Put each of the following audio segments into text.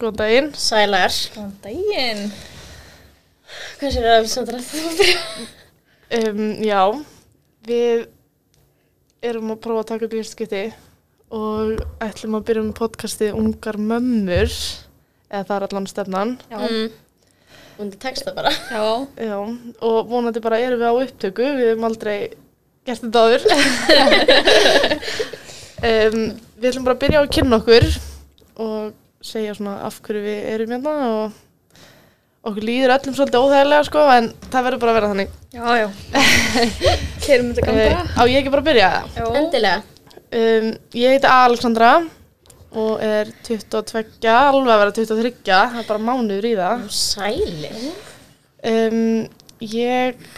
Góðan daginn. Sælar. Góðan daginn. Hvað sér að við samt rættum að byrja? Um, já, við erum að prófa að taka upp í fyrstskipti og ætlum að byrja með podcastið Ungar Mömmur, eða það er allan stefnan. Já. Mm. Og það tekst það bara. Já. Já, og vonandi bara erum við á upptöku, við hefum aldrei gert þetta áður. um, við ætlum bara að byrja á að kynna okkur og segja svona af hverju við erum hérna og okkur líður öllum svolítið óþægilega sko, en það verður bara að vera þannig. Já, já. Keirum þetta Eh, ganga. á ég ekki bara að byrja það? Já. Endilega. Um, ég heiti Alexandra og er 22, alveg að vera 23, það er bara mánuður í það. Nú, Sælir. Um, ég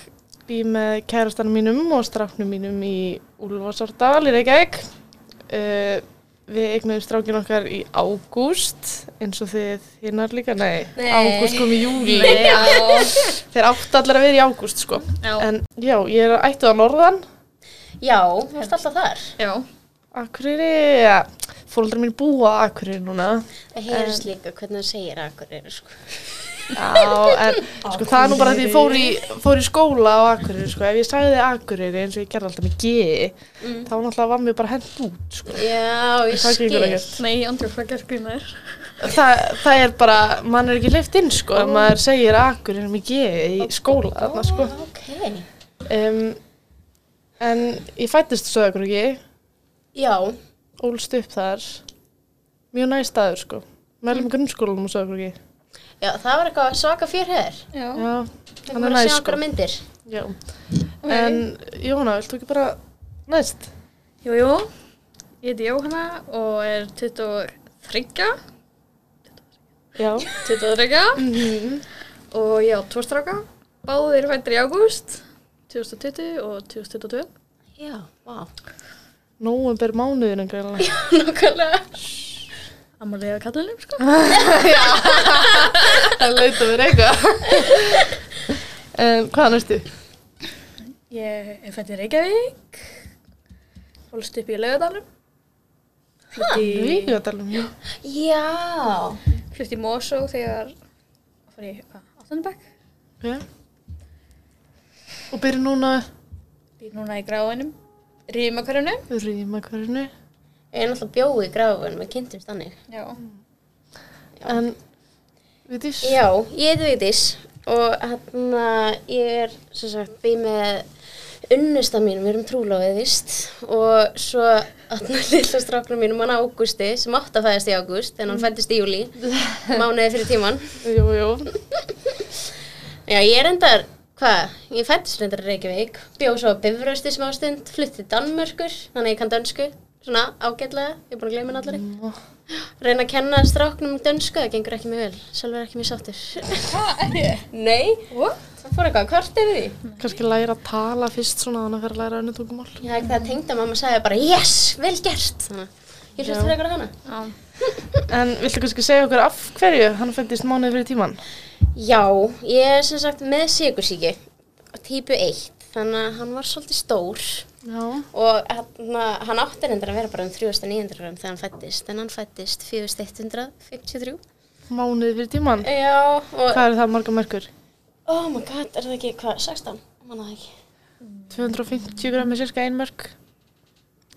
bý með kærastanum mínum og strafnum mínum í Úlfarsárdal í Reykjavík. Uh, við eignuðum strákin okkar í ágúst, eins og þið hinnar líka, nei, Nei. ágúst kom í júli. Já. Þeir áttu allar að vera í ágúst, sko. Já. En já, ég er ættuð á norðan, Já, þú varst alltaf þar. Já. Akureyri, ja, fólkdrar mín búa á Akureyri núna. Það heyrðist líka hvernig það segir Akureyri, sko. Já, en sko, það er nú bara því ég fór í, fór í skóla á Akureyri, sko. Ef ég sagði Akureyri eins og ég gerði alltaf með G, þá náttúrulega var mér bara hend út, sko. Já, ég Það gengur skil. ekkert. Nei, andri hvað gerð grínar. Þa, það er bara, mann er ekki leift inn, sko, ef maður segir Akureyri með G í skóla, þarna, sko. Ok. Um, en ég fættist svo okkur ekki, Já, ólst upp þar, mjög næst staður, sko. Mælum grunnskólanum og svo okkur ekki. já, það var eitthvað svaka fjör hér. Já. Já, Við hann vorum er að næst, sjá sko. okkur myndir. Já, en Jóna, viltu ekki bara næst? Jú, jú. Ég heiti Jóhanna og er 23. Já. 23. Og já, tvo stráka. Báðir fættir í ágúst. 2020 og 2022. Já, vá. Nóvember mánuðin en greinlega. Nákvæmlega. Amalíða kallinum, sko. Það leita mér eitthvað. en hvað næstu? Ég er fætt í Reykjavík. Fólst upp í Laugadalum. Flutt í, Víkjadalum. Já. flutt í Mosó þegar að fara í hvað, Áttunabæk. Já. Og byrja núna Býr núna í gráinum. Rímakörunum. rýmakverðinu. Ég er náttúrulega bjói í gráfun, við kynntumst þannig. Já. En, við þess? Já, ég heiti Vigdís og hérna ég er sem sagt bý með unnusta mínum, við erum trúlófið vist og svo hérna lilla stráknum mínum hann Ágústi sem átt að fæðast í Ágúst en hann fættist í júli, mánuði fyrir tíman. Jú, jú. Já, ég er endar, hvað, ég fættist reyndar í Reykjavík, bjóð svo að bifrösti smástund, flutti til Danmörkur, þannig að ég kann dönsku, svona ágætlega, ég er búin að gleyma henni allari. Má. Reyna að kenna stráknum dönsku, það gengur ekki mjög vel, sjálfur ekki mjög sáttur. Nei, Og? það fór eitthvað kvart yfir því. Kannski læra að tala fyrst svona þannig að fyrir að læra önnu tungumál. Mm. Já, ekki það tengda mamma sagði bara, yes, vel gert. Þannig, að ég Já. hlusti frekar á hana. Já. En viltu kannski segja okkur af hverju hann fættist mánuði fyrir tíman? Já, ég er sem sagt með sigursíki, típu 1, þannig að hann var svolítið stór Já. og hann, hann átti reyndar að vera bara um 3.900 gram þegar hann fættist, en hann fættist 4.153. Mánuði fyrir tíman? Já, og, Hvað eru það marga merkur? oh my god, er það ekki, hvað, 16? Manna það ekki. 250 grammi cirka einmörk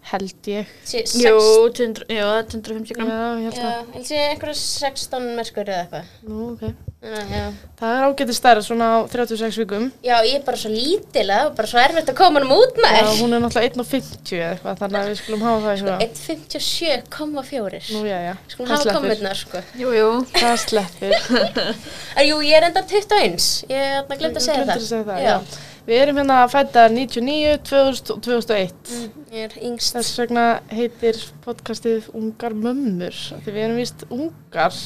held ég Sí, sex- Jú, 200, já, 250 já, gram. ég held Já, það ég sé einhverja 16 merkur eða eitthvað. Nú, okay. Þannig að, Já. það er ágætið stærð svona á 36 vikum Já, ég er bara svo lítilega og bara svo erfitt að koma hann út með. Já, hún er náttúrulega 1,50 eða eitthvað þannig að við skulum hafa það í huga 1.57,4 nú já já, Sko, Skulum það hafa sleppir kommentar sko Jú, jú. það sleppir er, Jú, ég er enda 21 Ég er glemt að segja Gleymdur það, að segja það já. við erum hérna að fæta 99, 2000 og 2001 Mm, Ég er yngst þess vegna heitir podcastið Ungar Mömmur af því við erum víst ungar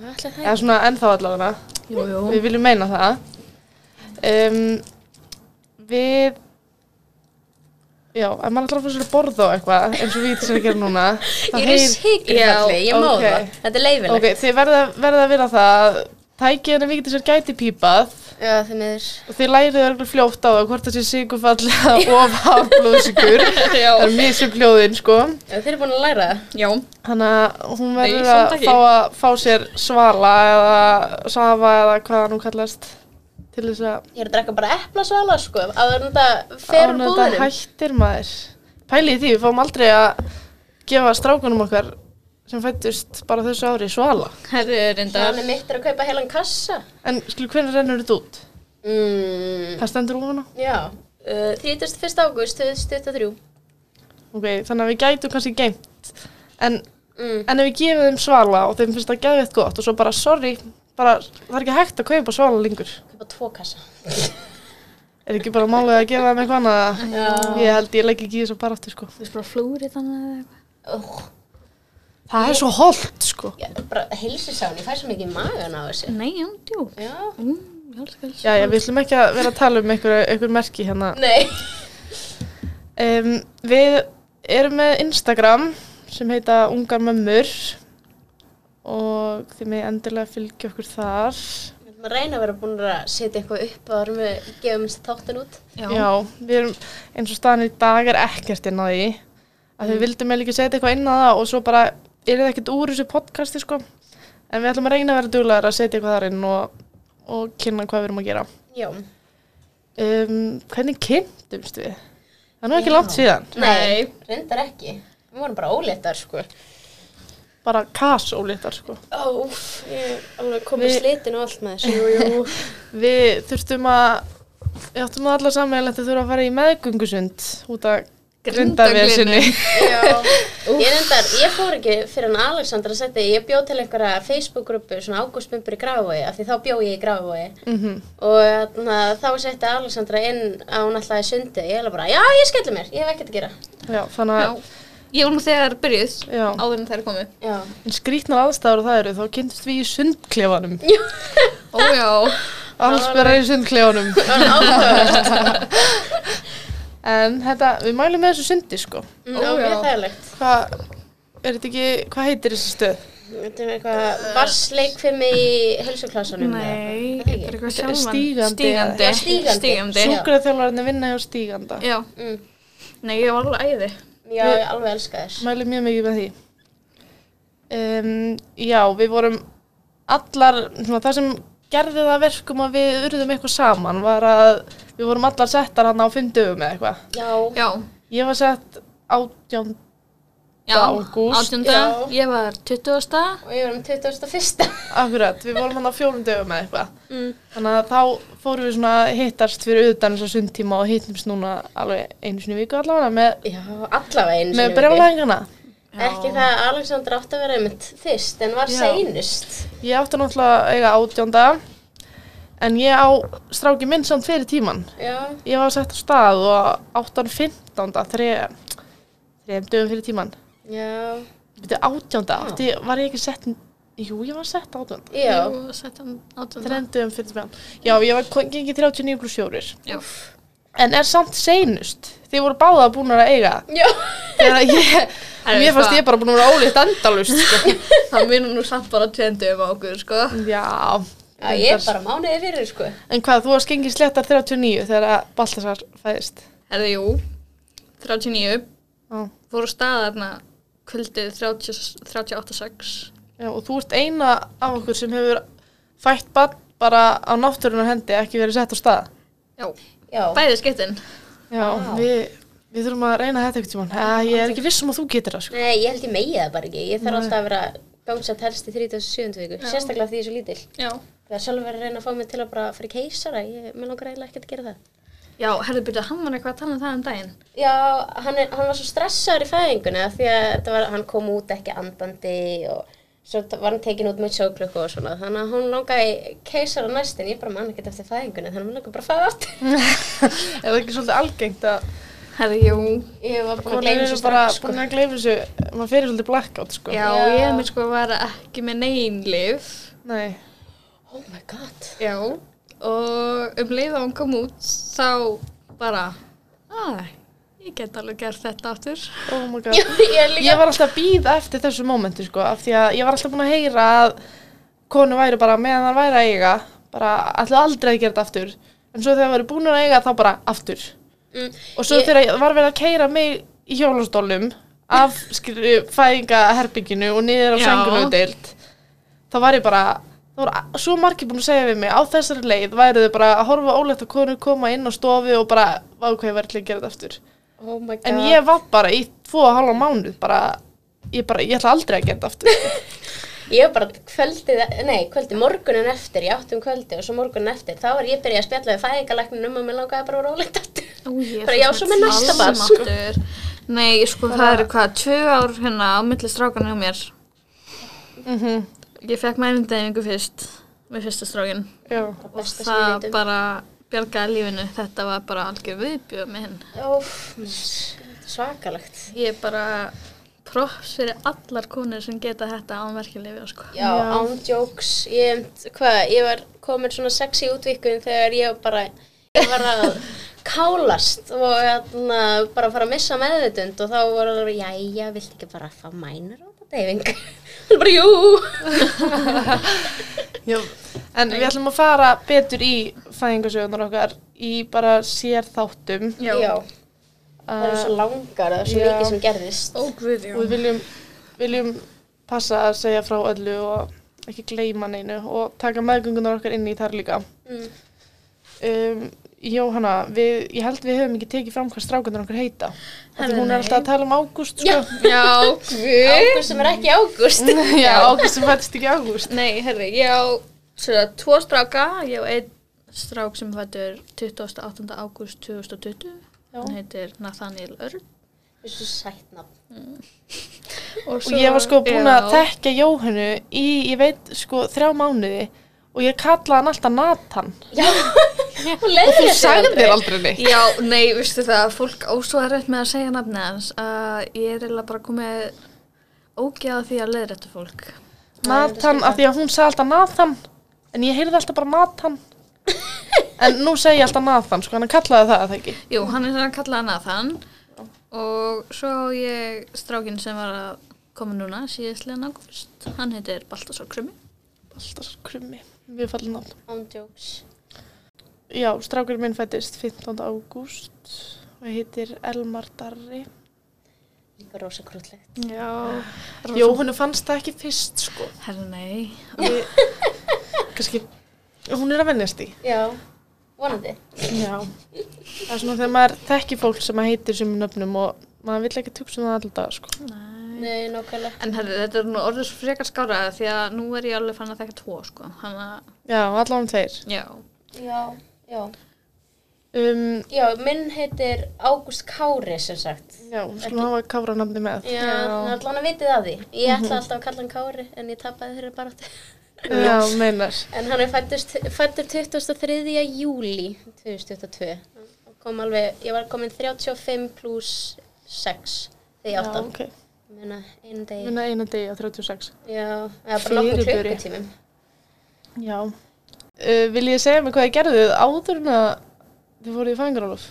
Ætli það eða ekki. svona ennþá allavega Jú, jú. Við viljum meina það. Um, við, já, ef maður ætlar að fá sér að borða á eitthvað, eins og við sem við gerum núna, þá Ég er heyr- sikri Já, falli, ég má ok. það Þetta er leifilegt Ok, þið verða, verða að vera það að tækið henni vikið þessar gæti pípað Já, því miður. og þið lærið örgulega fljótt á það hvort það sé sigurfall eða of haf blóðsigur. það er mjög sem hljóðin sko. Já, þeir eru búin að læra það. Já, Þannig að hún Nei, verður samt að ekki. fá að fá sér svala eða svafa eða hvað hann nú kallast til þess að Ég er að drekka bara eplasvala, sko, áður en þetta fer úr áður en þetta búðunum. hættir maður. Pælið í því, við fáum aldrei að gefa strákunum okkar sem fættust bara þessu ári svala. herru reyndar. Þannig mitt er að kaupa heilan kassa. En skilur, hvernig rennur þetta út? Mm, Það stendur ofan á? já, uh, 31. ágúst 2023. Ok, þannig að við gætum kannski geimt. En, Mm. en ef við gefum þeim svala og þeim finnst það geðveitt gott og svo bara, sorry, bara, það er ekki hægt að kaupa svala lengur. Kaupa tvo kassa. Er ekki bara málið að gefa þeim eitthvað annað? Já. Ég held ég legg ekki í þessu bara aftur, sko. Þú veist bara flúrið þannig eða eitthvað. Oh, Það er svo holdt, sko. ég, bara heilsisán, ég fæ svo mikið í magan á þessu. Nei, já, djú. Já. Mm, ég elska þess. Já, já, við ætlum ekki að vera að tala um einhver, einhver merki hérna. Nei. Um, við erum með Instagram sem heita Ungar Mömmur og þið með endilega fylgja okkur þar. Við ætlum að reyna að vera búin að setja eitthvað upp og erum við gefum þessi þáttin út. Já. Já, við erum eins og staðan í dag er ekkert inn á því að við vildum eða ekki setja eitthvað inn á það og svo bara er það ekkert úr þessu podcasti sko en við ætlum að reyna að vera duglegar að setja eitthvað þar inn og, og kynna hvað við erum að gera Já. um, Hvernig kynntumst við? Það er nú ekki Já. langt síðan Nei. Reyndar ekki. Við vorum bara óléttar, sko. bara kasólítar sko Ó, úff, ég er alveg Við- komið slitin og allt með þessu. Jú, jú. Við þurftum að við áttum að alla sammeinlegt að þurfa að fara í meðgöngusund út að grindavesinni Ég reyndar, ég fór ekki fyrir hann Alexander að setja, ég bjóð til einhverja Facebook-grúpu, svona ágústbumbur í Grafavogi, af því þá bjóð ég í Grafavogi. Mhm. Og þarna, þá setti Alexandra inn að hún alltaf er sundið. Ég hefði bara, já, ég skelli mér, ég hef ekkert að gera. Já, þannig Já. að Ég var nú þegar byrjuð, Já. áður en þær komu. Já. en skrýtnar aðstæður og það eru þá kynntust við í sundklefanum Ó já, alls bara í sundklefanum Það var áhugavert. en þetta, við mælum með þessu sundi sko Mm, Ó, Það var já. mjög þægilegt. hvað, er þetta ekki hvað heitir þessi stöð? Þetta er eitthvað vassleikfimi í helsuklásanum. Nei, það þetta ekki? er eitthvað Þetta er sjálfan. stígandi. Stígandi. Já, stígandi. Stígandi. Sú- Sjúkraþjálfarinn vinna hjá stíganda Já. Mm. Nei, ég var alveg æði. Já, ég alveg elska þess. mælum mjög mikið með því um, já, við vorum allar, svona, það sem gerði það að verkum að við urðum eitthvað saman var að við vorum allar settar hann á fimm dögum eða eitthvað Já. Já. ég var sett átján Já. Ágúst. Átjönda. Já. Ég var 20. Og ég var um 21. akkurat, við vorum hann á fjórum dögum eða eitthvað Mm. Þannig að þá fórum við svona að hittast fyrir utan þessa sundtíma og hittumst núna alveg einu sinni í viku allavega með, Já, allavega einu sinni í með viku. brjálæðingana. Ekki það að Alexander átti að vera einmitt þyrst en var Já. seinust. Ég átti náttúrulega að eiga átjónda en ég á stráki minn samt fyrir tíman. Já, Ég var sett á stað og áttan 15. þrejum dögum fyrir tíman. já, Þetta er átjónda, átti, var ég ekki sett, jú ég var sett átjónda. já. Jú, 17. Átjönda. Þrejum dögum fyrir tíman. Já, ég var ko- gengið 39 pluss sjórir. Já. En er samt seinust, þið voru báða búin að eiga. Já, Þegar að ég, Herra, mér fannst sko. ég bara búin að vera ólíkt endalust, sko. Það munum nú samt bara tjöndum á okkur, sko. Já. ég er reyndar. bara mánuði fyrir, sko. En hvað, þú varst gengið sléttar 39 þegar að Baltasar fæðist. Herði, jú. 39. Já. Fóru á stað þarna kvöldið 30 38.6. Já, og þú ert eina af okkur sem hefur fætt bann bara á náttúrunar hendi, ekki verið sett á stað. Já. Já, Bæði skiptin. Já, Vá. við, við þurfum að reyna þetta eitthvað tímann. Eh, Ég er ekki viss um að þú getur það, sko. nei, ég held ég megi það bara ekki. Ég þarf alltaf að vera gangsett helst í 37. viku, Já. sérstaklega af því ég er svo lítil. Já. Það er sjálfur verið að reyna að fá mig til að bara fyrir keisara, ég mér langar eiginlega ekkert að gera það. Já, herði, byrja, hann var eitthvað að tala um það um daginn. Já, hann, er, hann var svo stressaður í fæðingunni af því að þetta var, hann kom út ekki andandi og svo t- var hann tekin út með sjóklukku og svona. Þannig að hún langaði keisara næstin, ég bara man ekkert eftir fæðingunni, þannig að hún langaði bara að fæða aftur. Er það ekki svolítið algengt að Herði, jú. Ég var búin að konur gleyma eru þessu bara strax, sko. búin að gleyfa þessu, maður fyrir svolítið blackout, sko. Já, Já. ég er mér sko var ekki með neynlif. Nei. Oh my god. Já. Og um leið að hún kom út, þá bara, að, ég get alveg gert þetta aftur. Oh my god. ég er Ég var alltaf að býða eftir þessu mómenti sko, af því að ég var alltaf búin að heyra að konu væri bara meðan það væri að eiga bara ætlu aldrei að gera þetta aftur en svo þegar það væri búin að eiga þá bara aftur Mm, og svo ég- þegar var verið að keira mig í hjólastólum af skri- fæðingaherbygginu og niður á Já. sengurnautild þá var ég bara þá voru a- svo margir búin að segja við mig á þessari leið væri þau bara að horfa ólegt að konu koma inn á stofu og bara ákveði verðilega að gera þetta aftur Oh my god. en ég var bara í tvo og halva mánuð bara ég bara, ég ætla aldrei að gera þetta aftur Ég var bara kvöldið, nei, kvöldið morgunin eftir, ég átti um kvöldi og svo morgunin eftir, þá var ég byrjað að spjalla við fæðingalagnin um að mér langaði bara að vera ólegt aftur. Ó, ég er Bara já, svo svo með næsta barn, sko. allsmáttur. Nei, sko, það eru hvað, tvö ár hérna á milli strákan hjá mér. Ég fekk mælindæfingu fyrst, með fyrsta strákin. já, Og Besta sem ég það veit um. bara bjargaði lífinu. Þetta var bara algjör viðbjöð með hinn. Óf, svakalegt. Ég er bara proffs fyrir allar konur sem geta þetta ánverkilefi, sko. Já, án jokes, ég, hvað, ég var komin svona sexy útvikun þegar ég var bara, ég var að kálast og hérna bara að fara að missa meðvitund og þá voru það, jæja, viltu ekki bara fá mænur á þetta deyfing? Það er bara, jú! já. en við ætlum að fara betur í fæðingasögunar okkar í bara sér þáttum Já. það eru svo langar, það er svo Já. mikið sem gerðist. Ó, guð, já. og við viljum, viljum passa að segja frá öllu og ekki gleyma neinu og taka meðgöngunar okkar inn í þar líka Mm. um, Jóhanna, við, ég held við höfum ekki tekið fram hvað strákunar okkar heita Af því Herðu, hún er nei. alltaf að tala um ágúst sko. Já, guð. Ágúst sem er ekki ágúst. já, ágúst sem fættist ekki í ágúst Nei, herri, ég á svona, tvo stráka, ég á einn strák sem fættur 28. ágúst 2020, Já. hann heitir Nathaniel Örn. Þessu sætnafn. og ég var sko búin að tekja Jóhannu í, ég veit, sko, þrjá mánuði og ég kallaði hann alltaf Nathan Já, hún leiðir þú sagði þér aldrei neitt Já, nei, vistu það, fólk ásvaða rétt með að segja nafnið hans að ég er eiginlega bara komið ógjáð því að leiðrættu fólk. Nathan, af því að hún sagði alltaf Nathan en ég heyrði alltaf bara Nathan en nú segi ég alltaf Nathan sko, hann kallaði það það ekki Jú, hann er svona að kalla hann Nathan og svo á ég strákinn sem var að koma núna síðastlega ágúst, hann heitir Baltasar Krummi. alltaf krummi, við fallum nátt Ándjóks. já, strákurinn minn fættist 15. ágúst og heitir Elmar Darri Líka rosa krúllegt. Já. Jó, hún fannst það ekki fyrst sko Herri, nei, Við- kannski hún er að vennjast í Já, vonandi. já. það er svona þegar maður þekki fólk sem að heitir sem nöfnum og maður vill ekki tuksa um það alltaf dag sko nei. Nei, nákvæmlega. En herri, þetta er nú orðið svo frekar skára því að nú er ég alveg fann að þekka tvo, sko. Þannig að, já, allavega tveir já. Já, já. um, Já, minn heitir Ágúst Kári sem sagt. já, hún skulum hafa káfranamni með Já, já. allan að vitið að því. Ég ætla alltaf að kalla hann Kári en ég tapaði þeirra bara áttu. Já, meinar. En hann er fættur 23. júli 2022. Og Kom alveg, ég var komin 35 pluss 6 þegar ég átt hann. ok. Muna, einu degi. Minna eina degi á 36. Já, það er bara nokkuð Fyrirburi. klukkutímum. Já. Uh, vil ég segja mig hvað þið gerðuð áður en að þið fóruð í fæðingarálof?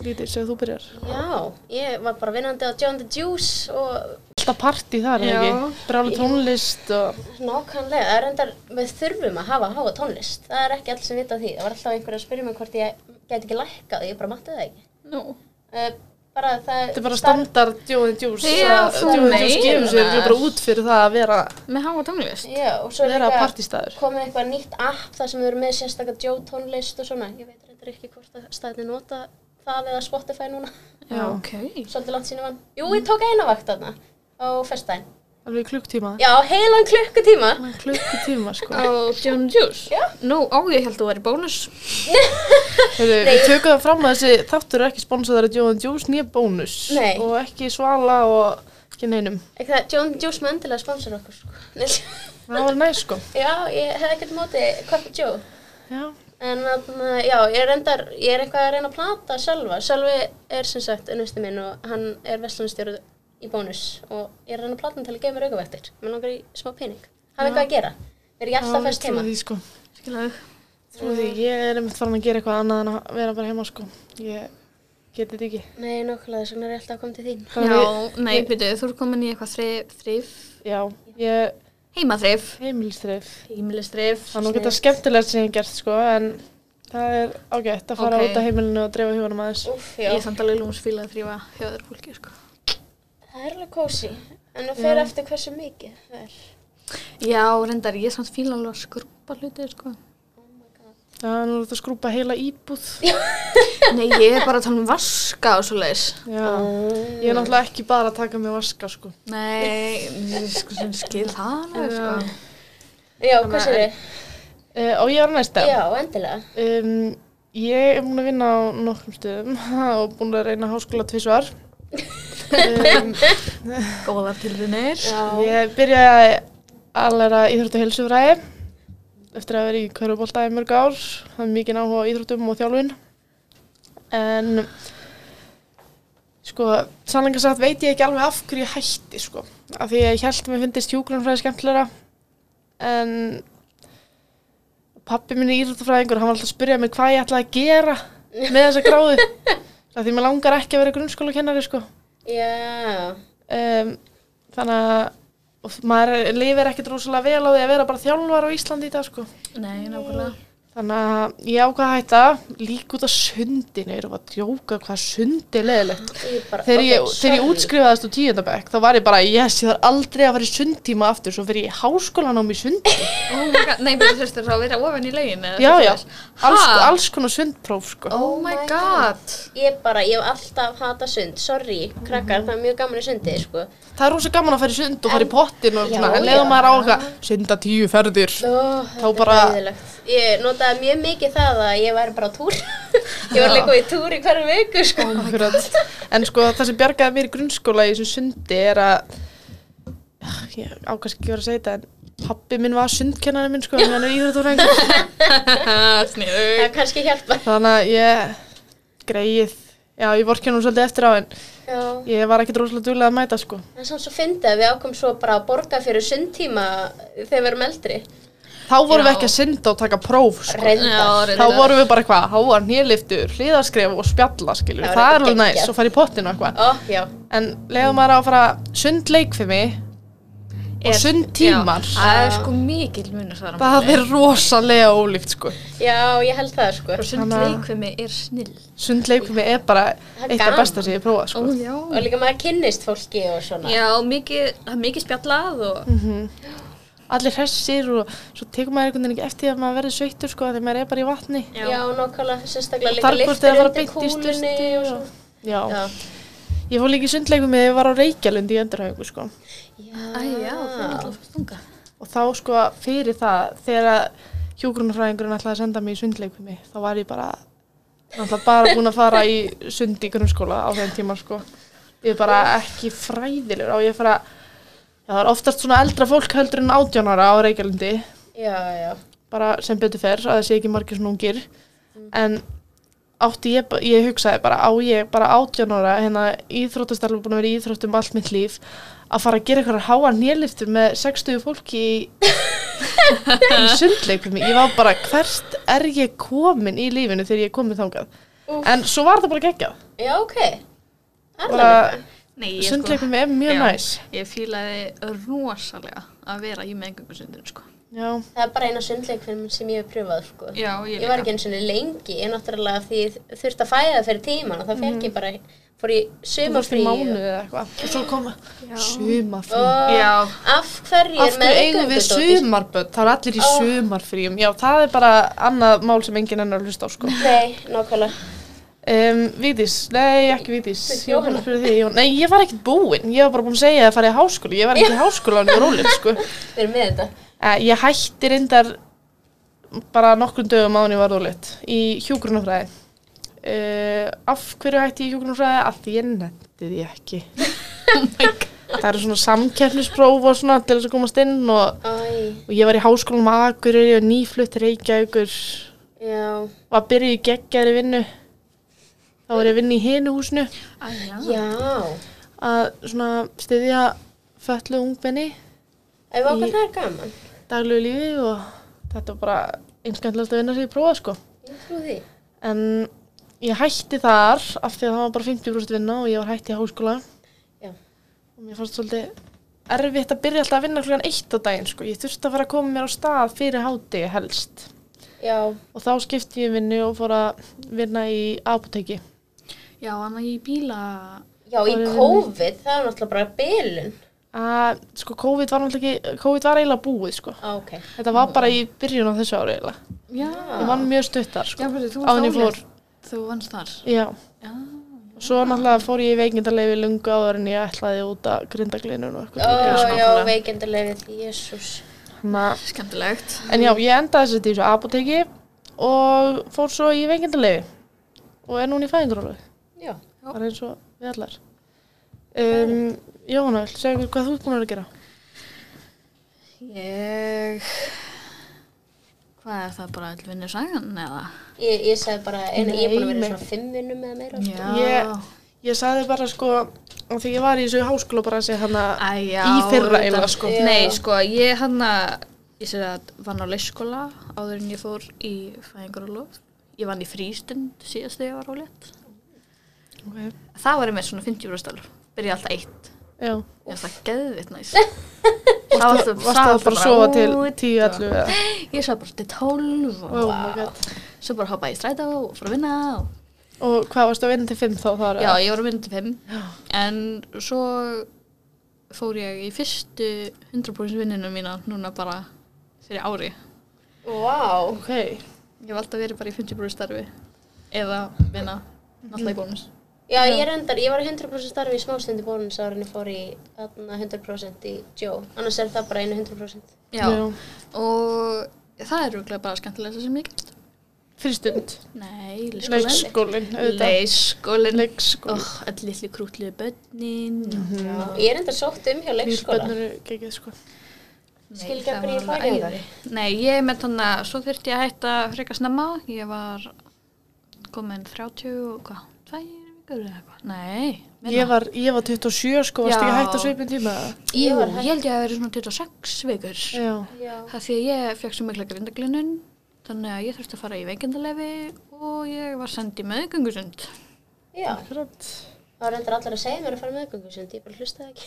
Lítið, segðu þú byrjar. Já, ég var bara vinnandi á John the Juice og Alltaf partí þar, er Já. ekki? Bráli tónlist og... nákvæmlega, það er endar, við þurfum að hafa háa tónlist, það er ekki alls sem vita af því, það var alltaf einhver að spyrja mig hvort ég get ekki lækkað, ég bara matti það ekki. Nú. Uh, bara það Þetta er bara standard Jóðin Djús. Já, þú Jóðin Djús gefur sér meinar. ekki bara út fyrir það að vera, Með hafa tónlist. Já, og svo er vera líka partístaður. komið eitthvað nýtt app þar sem við erum með sérstaklega Joe tónlist og svona, ég veit reyndar ekki hvort að staðni nota það eða Spotify núna, Já. ok. svolítið langt sínum vann. Jú, ég tók eina vakt þarna á festdæn. Alveg í klukktíma. Já, heilan klukkutíma. Klukkutíma, sko. Á John Juice? Já. Nú, á, ég held þú væri bónus. Heru, við tökum það fram að þessi þáttur er ekki sponsaðar af Jóðin Djús, nýja bónus. Nei. Og ekki svala og ekki neinum. Ekki það, John the Juice með endilega sponsor okkur, sko. Það var næst, sko. Já, ég hef ekkert á móti Cotton Joe. Já. En þarna, já, ég er, endar, ég er eitthvað að reyna að plata Sölva. Sölvi er sem sagt unnusti minn og hann er vestlunastjóru í bónus og ég er að reyna að plata hann til að gefa mér aukavættir. Mér langar í smá pening. Hann er eitthvað að gera. Mér er ekki alltaf fest heima. Því, sko. Skiljaðu. Trú því, ég er einmitt farin að gera eitthvað annað en að vera bara heima sko. Ég geti þetta ekki. Nei, nákvæmlega, þess vegna er ég alltaf að koma til þín. Hvað Já, við- nei, byrju, þú ert komin í eitthvað þrif, þrif. Já, ég heimaþrif, Heimilstrif. heimilistrif. Það er nú geta skemmtilegt sem ég hef gert sko, en það er ágætt að fara Ok. út á heimilinu og dreifa hugunum aðeins. Úff, já. Ég er samt alveg lúmsfíla að þrýfa hjá öðru fólki, sko. Það er alveg kósi, en það fer Já. eftir hversu mikið það er. Já, reyndar, ég er samt fíla alveg að skrúpa hluti, sko. Já, nú er þetta að skrúpa heila íbúð. Nei, ég er bara að tala um vaska og svo leiðis. Já. Ég er náttúrulega ekki bara að taka mig að vaska sko. Nei, ég sko sem skil það alveg, sko. Já, hvað sér þið? Uh, og ég er næsta. Já, endilega. Um, ég er búin að vinna á nokkrum stöðum og búin að reyna háskóla tvísvar. um, Góða tilrunir. ég byrjaði að læra íþróttu helsufræði eftir að vera í körfubólta í mörg ár. Það er mikið náhuga á íþróttum og þjálfun. En sko, sannleika sagt veit ég ekki alveg af hverju ég hætti sko. Af því að ég held að mér fyndist hjúgrunfræði skemmtilegra. En pappi minn er íþróttafræðingur, hann var alltaf að spyrja mig hvað ég ætlaði að gera með þessa gráðu. Af því mér langar ekki að vera grunnskólakennari sko Já, um, þannig að og maður lifir ekkert rosalega vel á því að vera bara þjálfar á Íslandi í dag sko. Nei, nákvæmlega. þannig að ég ákvað að hætta líka út af sundinu ég er að djóka hvað sundi er leðilegt ég bara... þegar ég, ok, þegar ég sorry. útskrifaðist úr tíundabæk þá var ég bara, yes, ég þarf aldrei að fara í sundtíma aftur svo fyrir ég í háskólan á mig sundi Oh my god, nei, þú þurftir þá að vera ofan í lögin eða já, eitthvað já, svoleiðis. alls, Ha? alls konar sundpróf sko. Oh my god. Ég bara, ég hef alltaf hata sund, sorry, krakkar, það er mjög gaman í sundi, sko. það er rosa gaman að fara í sund og fara í En- pottin og Já, svona, en já. leðum maður á okkar sunda tíu ferðir Ó, Þá þetta bara- er ræðilegt. Ég notaði mjög mikið það að ég væri bara á túr. ég var líka í túr í hverju viku, sko. Akkurat. Oh En sko það sem bjargaði mér í grunnskóla í þessum sundi er að ég ákast ekki verið að segja þetta en pappi minn var sundkennari minn sko en hann er íþróttafræðingur Sniðu. Það kannski hjálpa. þannig að ég greið já ég vorkin hún svolítið eftir á en Já. ég var ekkert rosalega duglega að mæta sko En samt svo fyndið að við ákom svo bara að borga fyrir sundtíma þegar við erum eldri. þá vorum við Já. ekki að synda og taka próf sko. Já, Reynda. þá reyndar. vorum við bara eitthvað háar nýliftur, hliðaskref og spjalla skilur Það var það er alveg eitthvað næst geggjað. og fara í pottinu og eitthvað Ó, já. en leiðum maður á að fara sundleik fyrir mig og Er- sundtímar Já, Það er sko mikil munur þar á það milli. er rosalega ólíft sko Já, ég held það, sko. Og sundleikvimi er snill. Sundleikfimi er bara Það er eitt af gaman. besta sem ég prófa sko. já. Og líka maður kynnist fólki og svona. Já, mikið, það er mikið spjallað og Mm. Allir hressir og svo tekur maður einhvern veginn ekki eftir því að maður verður sveittur sko þegar maður er bara í vatni. Já, nákvæmlega, sérstaklega Og líka þar hvort lyftir er að fara undir beint í kúlunni sturtu og og- svona. Já. Já. Ég fór líka í sundleikum þegar ég var á Reykjalundi í endurhæfingu sko. Æ, já, Mm. það er alltaf stunga. Og þá sko fyrir það þegar hjógrunarfræðingurinn ætlaði að senda mig í sundleikfimi þá var ég bara náttúrulega bara búin að fara í sund í grunnskóla á þeim tíma sko. Ég er bara ekki fræðilegur á ég að fara Já, það er oftast svona eldra fólk heldur en 18 ára á Reykjalundi Já, já. bara sem betur fer að það sé ekki margir svona ungir Mm. en átti ég, ba- ég hugsaði bara á ég bara 18 ára hérna íþróttastarfi búin að vera í íþróttum allt mitt líf að fara að gera eitthvað háa nýliftur með 60 fólki í, í sundleikum ég var bara hvert er ég komin í lífinu þegar ég er komin þangað Úff. en svo var það bara geggjað Já, ok. bara, Allavega. sko. Nei, ég sundleikum er mjög Já. næs Ég fílaði rosalega að vera í meðgöngu sundin, sko. já, Það er bara eina sundleikfilm sem ég hef pröfað, sko. Já, ég Ég var ekki eins og lengi, ég náttúrulega því ég þurfti að fæða fyrir tíman og það fekk ég bara, fór í Mhm. þú varst í sumarfrí. mánuð eða eitthvað og svo kom sumafrí Og Já, af hverju Af er hverju eigum við meðgöngudóttir? sumarböld? Það er allir í Ó. sumarfríum. Já, það er bara annað mál sem enginn enn er að hlusta á, sko. Nei, nákvæmlega. Um, Vítis, nei, ekki Vítis. Ég var búin Jóhanna. að spyrja þig, Jón. Nei, ég var ekkert búinn. Ég var bara búin að segja að fara í háskóli. Ég var ekki í háskóla en ég var ólið, sko. Við erum með þetta. Eh, Ég hætti reyndar bara nokkrum dögum án ég var ólið í hjúgrunafræði. Uh, af hverju hætti ég í hjúgrunafræði? Af því ég nefndi því ekki. það eru svona samkeppnispróf og svona til þess að komast inn og Æ, og ég var í háskólanum á Akureyri og nýflutt til Reykjavíkur og já. að byrja í geggjari vinnu þá var ég að vinna í hinu húsinu Æ, já. Ah. Já. að svona styðja föllu ungbenni Ef Í- okkur það er gaman. daglegu lífi og þetta var bara einskjöndilegt að vinna sér í prófa sko Ég trú því. en ég hætti þar af því að það var bara 50% vinna og ég var hætti í háskóla Já. og mér fannst svolítið erfitt að byrja alltaf að vinna klukkan eitt á daginn sko. Ég þurfti að fara að koma mér á stað fyrir hádegi helst. Já, Og þá skipti ég vinnu og fór að vinna í apoteki. Já, annað í bíla... já í Og- COVID það er náttúrulega bara bylun. Að, sko, COVID var náttúrulega ekki, COVID var eiginlega búið sko. Á, ok. Þetta var bara í byrjun á þessu ári eiginlega. Já, Ég vann mjög stuttar já, sko. betur, þú Áður en ég varst fór. álétt. Þú vannst þar. Já. Já. Og svo náttúrulega fór ég í veikindarleifi lungu áður en ég ætlaði út að grindaglinun og Ó, eitthvað. Já, já, nákvæmlega. veikindarlegið, jésús. Þannig að Skemmtilegt. En já, ég endaði þess að í þessu apoteki og fór svo í veikindarleifi og er núna í fæðingarólu. Já. Bara eins og við allar. Um, Jóhanna, viltu segja okkur hvað þú ert búin að vera að gera? Ég... Hvað er það bara öll vinnur sagan eða? Ég, ég sagði bara, en ég er búin að vera Nei, í svona fimm vinnum eða meira. sko. Ég- Ég sagði bara sko, af því ég var í þessu háskóla bara að segja hana, Æ, já, Í fyrra auðvitað. eiginlega, sko. Já. Nei, sko, ég hann að, ég sér að vann á leikskóla áður en ég fór í fæðingar og lof. Ég vann í frístund síðast þegar ég var ólétt. ok, Það var ég með svona 50 brústalur. Byrja alltaf eitt. já. Ég er það geðvitt næs. Það var alltaf- Varst það bara að sofa til 10-11 eða? Ég sá bara til 12 og Oh my god. svo bara hoppaði í strætó og fór að vinna og Og hvað varstu að vinna til 5 þá þar? Já, eða? ég var að vinna til 5 En svo fór ég í fyrstu 100% vinninu mína núna bara fyrir ári Vá. Ok, Ég hef alltaf verið bara í 50% starfi eða vinna náttúrulega í bónus Já, ég reyndar, ég var í 100% starfi í smástundi bónus ára en ég fór í þarna 100% í Joe. Annars er það bara einu 100%. Já, og það er rúglega bara skemmtilegast sem ég gert Frístund. Nei, leikskólinn Leikskólinn, auðvitað. Leikskólinn Leikskólinn. oh, Öll litlu krútluðu bönnin Já. Ég reyndar sótt um hjá leikskóla. Lífbönnur gegið sko. Skilgjarnir í fæðingarorlofi? Nei, ég með þannig að svo þurfti ég að hætta frekar snemma. Ég var komin 30 og hvað, tvær vikur eða eitthvað. Nei, Ég var, ég var 27 sko, varst Já. ekki hægt að svipin tíma? eða? Jú, Ég var ég held ég að vera svona 26 vikur. Já. Já. Það því að ég fekk svo mikla grindaglunum, þannig að ég þurfti að fara í veikindalefi og ég var sendið meðgöngusund. Já. Akkurat. Það var reyndar allar að segja mér að fara með göngu sem ég bara hlustaði ekki.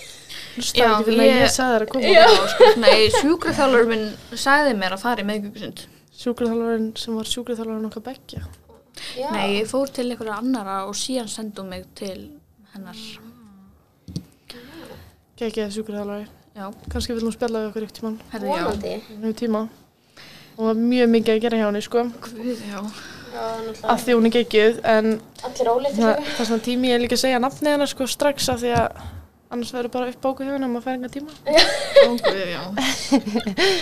Hlustaði Já, ekki fyrir að ég- ég sagði þér að koma. Já, sko, nei, sjúkraþjálfur minn sagði mér að fara í meðgöngusund. Sjúkraþjálfarinn sem var sjúkraþjálfarinn okkar bekkja. Já. Nei, ég fór til einhverja annara og síðan sendið mig til hennar. Gekkið sjúkraþjálfari. Já, Kanski vil hún spjalla við okkur ykkur tíma. herri, já. Vonandi. Nú tíma. Hún var mjög mikið að gera hjá henni sko. Guð, já. Já, náttúrulega. Af því hún er gekkið. En Allir óléttir það líka. er svona tími ég er líka að segja nafnið hennar sko strax af því að annars verður bara upp bóku hjá henni og maður fær enga tíma. Ó, Guð, já.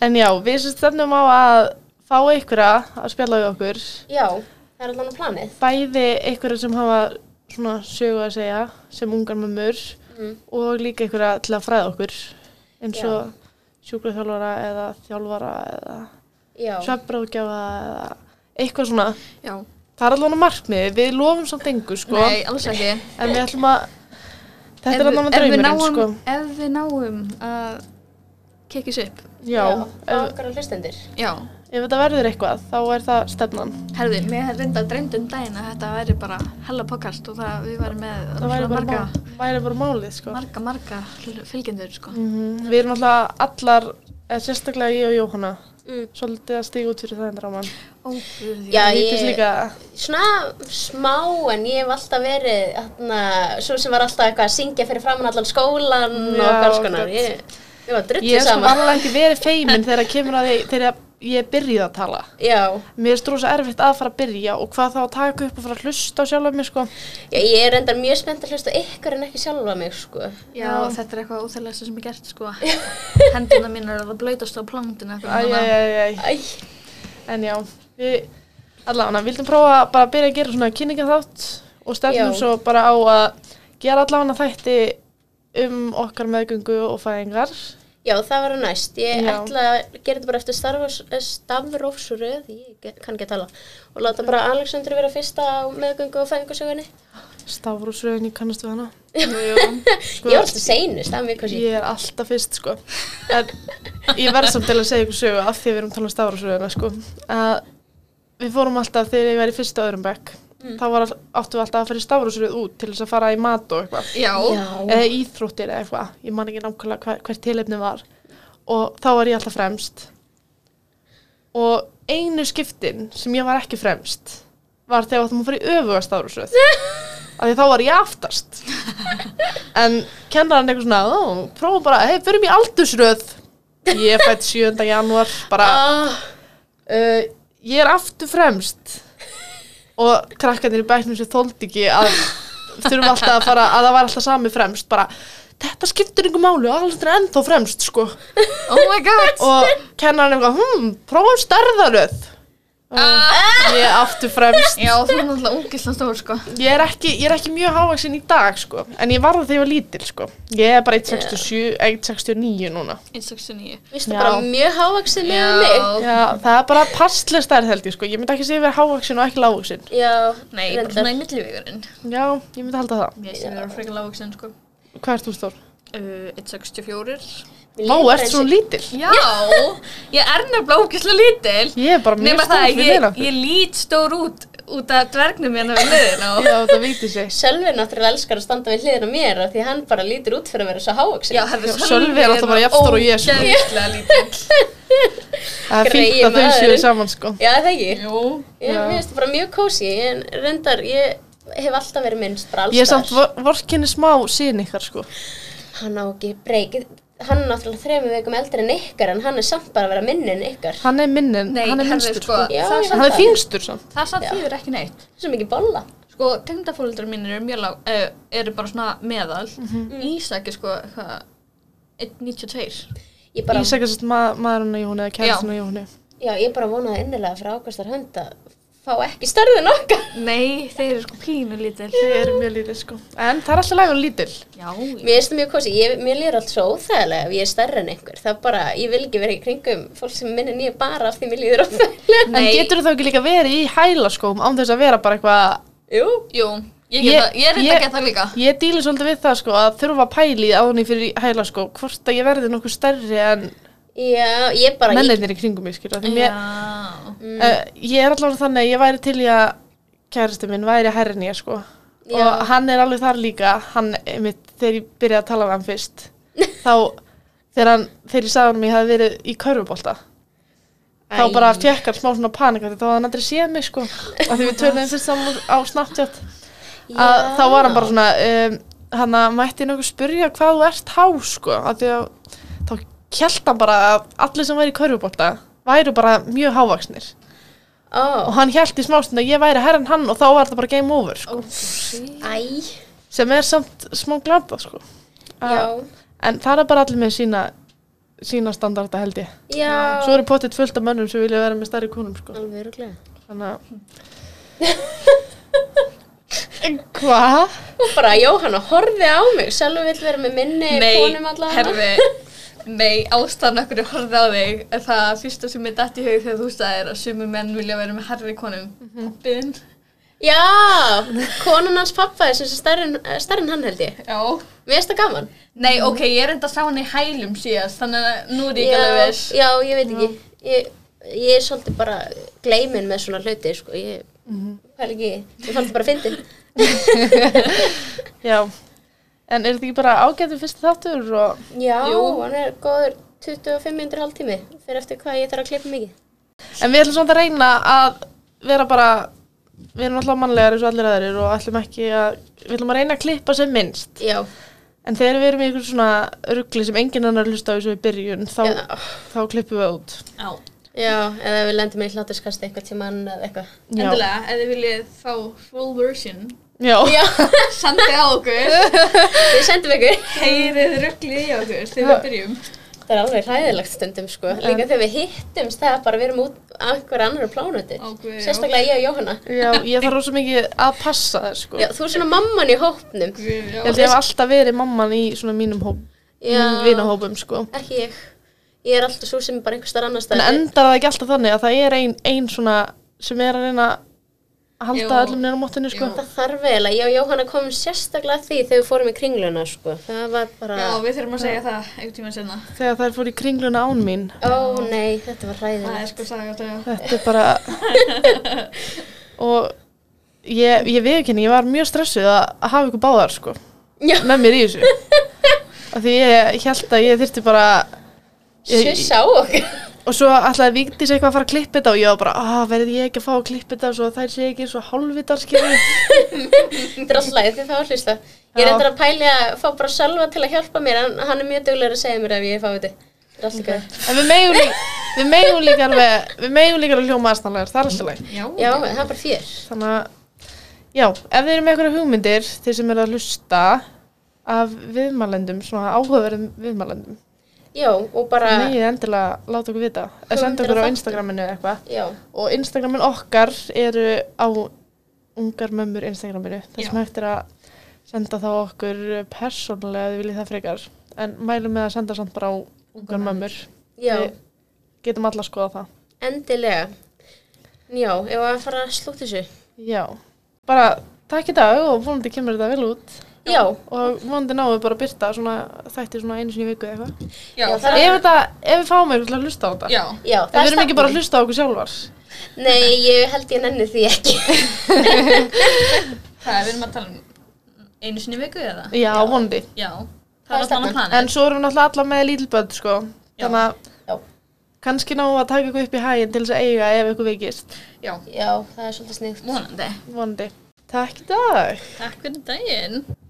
En já, við sem stefnum á að fá einhverja að spjalla við okkur. Já, það er allan á planið. bæði einhverja sem hafa svona sögu að segja sem ungar mömmur Mm. og líka einhverja til að fræða okkur eins Já. og sjúkraþjálfara eða þjálfara eða Já. svefnbráðgjafa eða eitthvað svona. Já, Það er allavega markmiðið, við lofum samt engu sko, nei, alls ekki. en við ætlum að, þetta Ef er við- allavega ef við draumurinn náum- sko. Ef við náum að kekis upp, Já, Það ef, okkar að hlustendur. já. ef þetta verður eitthvað þá er það stefnan. Herði, mér hefði reynda dreymt um daginn að þetta væri bara hella podcast og það við væri með Það væri svona bara, marga, mál, væri bara málið sko. marga, marga hl- fylgjendur, sko. Mhm. Við erum alltaf allar, eða sérstaklega ég og Jóhanna, Mm. svolítið að stíga út fyrir það endur á mann. Ó, guð, Já, Ég finnst ég, líka, svona smá en ég hef alltaf verið, þarna, svo sem var alltaf eitthvað að syngja fyrir framann allan skólan Já, og hvers konar. gott. Ég, ég var drullu ég er sko saman. varlega ekki verið feimin þegar kemur að ég, þegar ég byrjaði að tala. Já, Mér er strósa erfitt að fara að byrja og hvað þá að taka upp og fara að hlusta á sjálf mér sko. já, ég er endar mjög spennt að hlusta á ykkur en ekki sjálfa mig, sko. já, þetta er eitthvað óþægilegast sem ég gert, sko. Hendina mín er að blöytast á plantinu. Æ, æ, æ, æ, Æ, en já, við allavega, vildum prófa bara að byrja að gera svona kynningaþátt og stefnum Já. svo bara á að gera allavega þætti um okkar meðgöngu og fæðingar. já, það var næst. Ég Já. ætla að gera þetta bara eftir eh, starfs- stafrófsröð, ég get- kann ekki að tala, og láta bara Alexander vera fyrsta á meðgöngu og fæðingarsögunni. Stafrúsröðin, ég kannast við hana. Ég var alltaf seinust, það er mjög kosið. Sko, Ég er alltaf fyrst sko en ég verð samt til að segja ykkur sögu af því að við erum talað um stafrúsröðina sko að við fórum alltaf þegar ég var í fyrsta öðrum bekk Mm. þá var, all- áttum við alltaf að fara í stafrósröð út til þess að fara í mat og eitthvað Já. Já. eða íþróttir eða eitthvað, ég man ekki nákvæmlega hver, hvert tilefni var og þá var ég alltaf fremst og einu skiptin sem ég var ekki fremst var þegar við áttum að fara í öfugast árusröð af því þá var ég aftast en kennarinn eitthvað svona "Ó, prófum bara, hei, förum í aldursröð ég fætt 7. janúar bara, Ah, uh, ég er aftur fremst og krakkarnir í bæknum sem þóldi ekki að þurfum alltaf að fara að það var alltaf sami fremst bara þetta skiptir yngur máli og aldrei ennþá fremst sko Oh my god. og kennarinn eitthvað hm, prófum stærðaröð Ah. og ég er aftur fremst Já, þú er náttúrulega ungislega stór, sko. ég er ekki, ég er ekki mjög hávaksin í dag sko en ég var það þegar ég var lítil sko ég er bara 1,67, 1,69 núna 169. Vistu Já. bara mjög hávaksin með mig. Já. Já, það er bara passlega stærð held ég sko ég myndi ekki segja að vera hávaksin og ekki lávaksin Já, Nei, bara reyndar. svona í millivegurinn. já, ég myndi halda það Mér sem vera frekar lágvaksin, sko. Hvað ert þú stór? Uh, 164. Mér Má, líður ert eins svo og- lítil? Já, ég er nefnilega ógislega lítil. Ég er bara mjög Nefna stór það, fyrir ég, þeirra. ég lít stór út út af dvergnum hérna við liðin og Já, það veitir sig. Sölvi náttúrulega elskar að standa við hliðina á mér af því hann bara lítur út fyrir að vera svo hávaksin. Já, herðu, Já, Sölvi er alltaf bara jafn stór og ég, sko. Ógeðslega lítill. Það er greyið fínt að þau séu maðurinn. saman, sko. Já, er það ekki. Jú. Ég Já. finnst bara mjög kósi, en reyndar, ég hef alltaf verið minnst bara alls Ég er staðar. samt vorkinni smá síðan ykkar, sko. Hann á ekki breyk, hann er náttúrulega þremur veikum eldri en ykkar, en hann er samt bara að vera minni en ykkar. Hann er minnin, Nei, hann er herðu, minnstur, sko. sko. Já, það ég Hann veit er það. þyngstur, samt. Það samt Já. þýðir ekki neitt. Svo mikið bolla. Sko, tengdafóreldrar mínir eru mjög lág, uh, eru bara svona meðal. Mhm. Ísak er sko, hvað, 1,92. Ég bara, Ísak er svolítið ma maðurinn að Jóni eða kærastinn að Jóni. já, ég bara vonaði innilega frá ákvæmstar hönd að fá ekki stærðin okkar. Nei, þeir eru sko pínu lítill. Þau eru mjög lítil, sko. En það er alltaf lægur lítil. Mér Já, finnst það mjög kósi, ég, mér líður allt svo óþægilega ef ég er stærri en einhver. Það er bara, ég vil ekki vera í kringum fólk sem er minni en ég bara af því mér líður óþægilega. En getur þú þá ekki líka verið í hælaskóm án þess að vera bara eitthvað Jú, jú, ég, ég, það, ég er reynda ég- að geta það líka. Ég díli svolítið við það sko að þurfa að pæli áðunni fyrir hæla sko hvort að ég verði nokkuð stærri en já, ég bara, ég, mennirnir í kringum mig skilja því mér, Já. Mm. Uh, ég er allavega þannig að ég væri til í að kærasti minn væri herri en ég sko Já. og hann er alveg þar líka hann, einmitt, þegar ég byrjaði að tala við hann fyrst þá þegar, hann, þegar ég sagði hann að ég hafi verið í körfubólta þá Æ. bara fekk hann smá svona panika því þá hafði hann aldrei séð mig sko af því við törnum fyrst saman á Snapchat að Já. þá var hann bara svona um, hann að mætti nokkuð spyrja hvað þú ert há sko af því að þá kjælt hann bara að allir sem væri í körfubólta væru bara mjög hávaksnir og ó, hann held í smástund að ég væri herran hann og þá var það bara game over sko. æ, sem er samt smá glata sko. já, Að- en það er bara allir með sína sína standarda held ég já. svo eru pottitt fullt af mönnum sem vilja vera með stærri konum sko. Alveg öruglega. þannig að hvað? Bara Jóhanna horfið á mig, Selvi vill vera með minni konum allavega. herfi, nei, ástæðan okkur ég horfði á þig er það fyrsta sem mér dætt í hug þegar þú sagðir að sumur menn vilja vera með herri konum pappin, Já, konan hans pappa er sem sé stærri en- eh, stærri en hann held ég. já Mér finnst það gaman. nei, ok, ég er enda að sá hann í hælum síðast þannig að nú er ég ekki alveg Já, viss já, ég veit ekki. Ég, ég er svolítið bara gleimin með svona hluti, sko. Ég, hvað ekki, ég fann það bara fyndin. já en er þetta ekki bara ágættu fyrsti þáttur og Já, Jú. hann er góður 25 minnir hálftími, fyrir eftir hvað ég þarf að klippa mikið. En við ætlum svona að reyna að vera bara, við erum alltaf mannlegar eins og allir aðrir og ætlum ekki að, við ætlum að reyna að klippa sem minnst. Já, En þegar við erum í einhver svona ruggli sem enginn annar hlusta á þessu í byrjun, þá, já, þá klippum við út. já, já, eða við lendum í hláturskast eitthvað til mann eða eitthvað. Já. endilega, ef þið viljið fá full version Já. Já, sendi á okkur, við sendum ykkur. heyrið rugglið í okkur þegar við byrjum sko, Það er alveg hræðilegt stundum sko, líka þegar við hittumst það er bara að við erum út á einhverju annar plánutu, Ó, guð, já. sérstaklega ég og Jóhanna. Já, ég þarf rosa mikið að passa þér, sko. Já, þú er svona mamman í hópnum, Guð, já. Ég held ég hef alltaf verið mamman í svona mínum hóp, Já. Mm, mínum vinahópum, sko. ekki ég. Ég er alltaf svo sem er bara einhver starf annar En stað. endar það ekki alltaf þannig að það er ein, ein svona sem er að reyna að halda Jú. öllum neina móttinu, sko. það þarf vel að ég og Jóhanna komum sérstaklega að því þegar við fórum í kringluna sko, það var bara, já, við þurfum að segja það einhvern tíma senna Þegar þær fór í kringluna án mín, ó nei, þetta var það er hræðilegt. sko saga þetta Þetta er bara og ég, ég viðkynni, ég var mjög stressuð að, að hafa ykkur báðar sko, Já, með mér í þessu af því ég held að ég þyrfti bara ég- sjöss á okkur. og svo ætlaði Vigdís eitthvað að fara að klippa þetta og ég var bara, ah, verði ég ekki að fá að klippa þetta svo að þær sé ekki svo hálfvitar skilur Þetta er alltaf lægið því það var hlusta. Ég er Já. eitthvað að pæli að fá bara Sölva til að hjálpa mér en hann er mjög duglegur að segja mér ef ég fá þetta. Þetta er alltaf okay. en við megum, líka, við megum líka alveg við megum líka alveg hljóma aðstæðanlegar, það er alltaf leik Já, Já, það er bara fjör. þannig að, já, ef þið eru með einhverja hugmyndir þeir sem eru að hlusta af viðmælendum, svona áhugaverðum viðmælendum, Já, og bara, megið endilega láta okkur vita, eða senda Hugmyndir okkur og á þætti. Instagraminu eða eitthvað já, og Instagramin okkar eru á ungar mömmur Instagraminu þar sem Já. hægt er að senda þá okkur persónulega ef þið viljið það frekar en mælum með að senda samt bara á ungar mömmur já, Við- getum alla að skoða það endilega. Já, ef að fara að slúta þessu. já, bara takk í dag og vonandi kemur þetta vel út Já, og vonandi náum við bara að byrta svona þætti svona einu sinni í viku eða eitthvað já, Já, það það- ef, þetta, ef við fáum eitthvað til að hlusta á þetta Já, já, ef við erum stefnan. ekki bara að hlusta á okkur sjálfar Nei, ég held ég nenni því ekki. það er við erum að tala um einu sinni í viku eða? já, vonandi Já, það Það er er alltaf stefnan. annað planið. en svo erum við náttúrulega alla með lítilböld sko. Já. þannig að Já, kannski ná að taka eitthvað upp í hæginn til þess að eiga ef eitthvað veikist, Já, já, það er svolítið sniðt. vonandi. vonandi. Takk í dag! Takk fyrir daginn.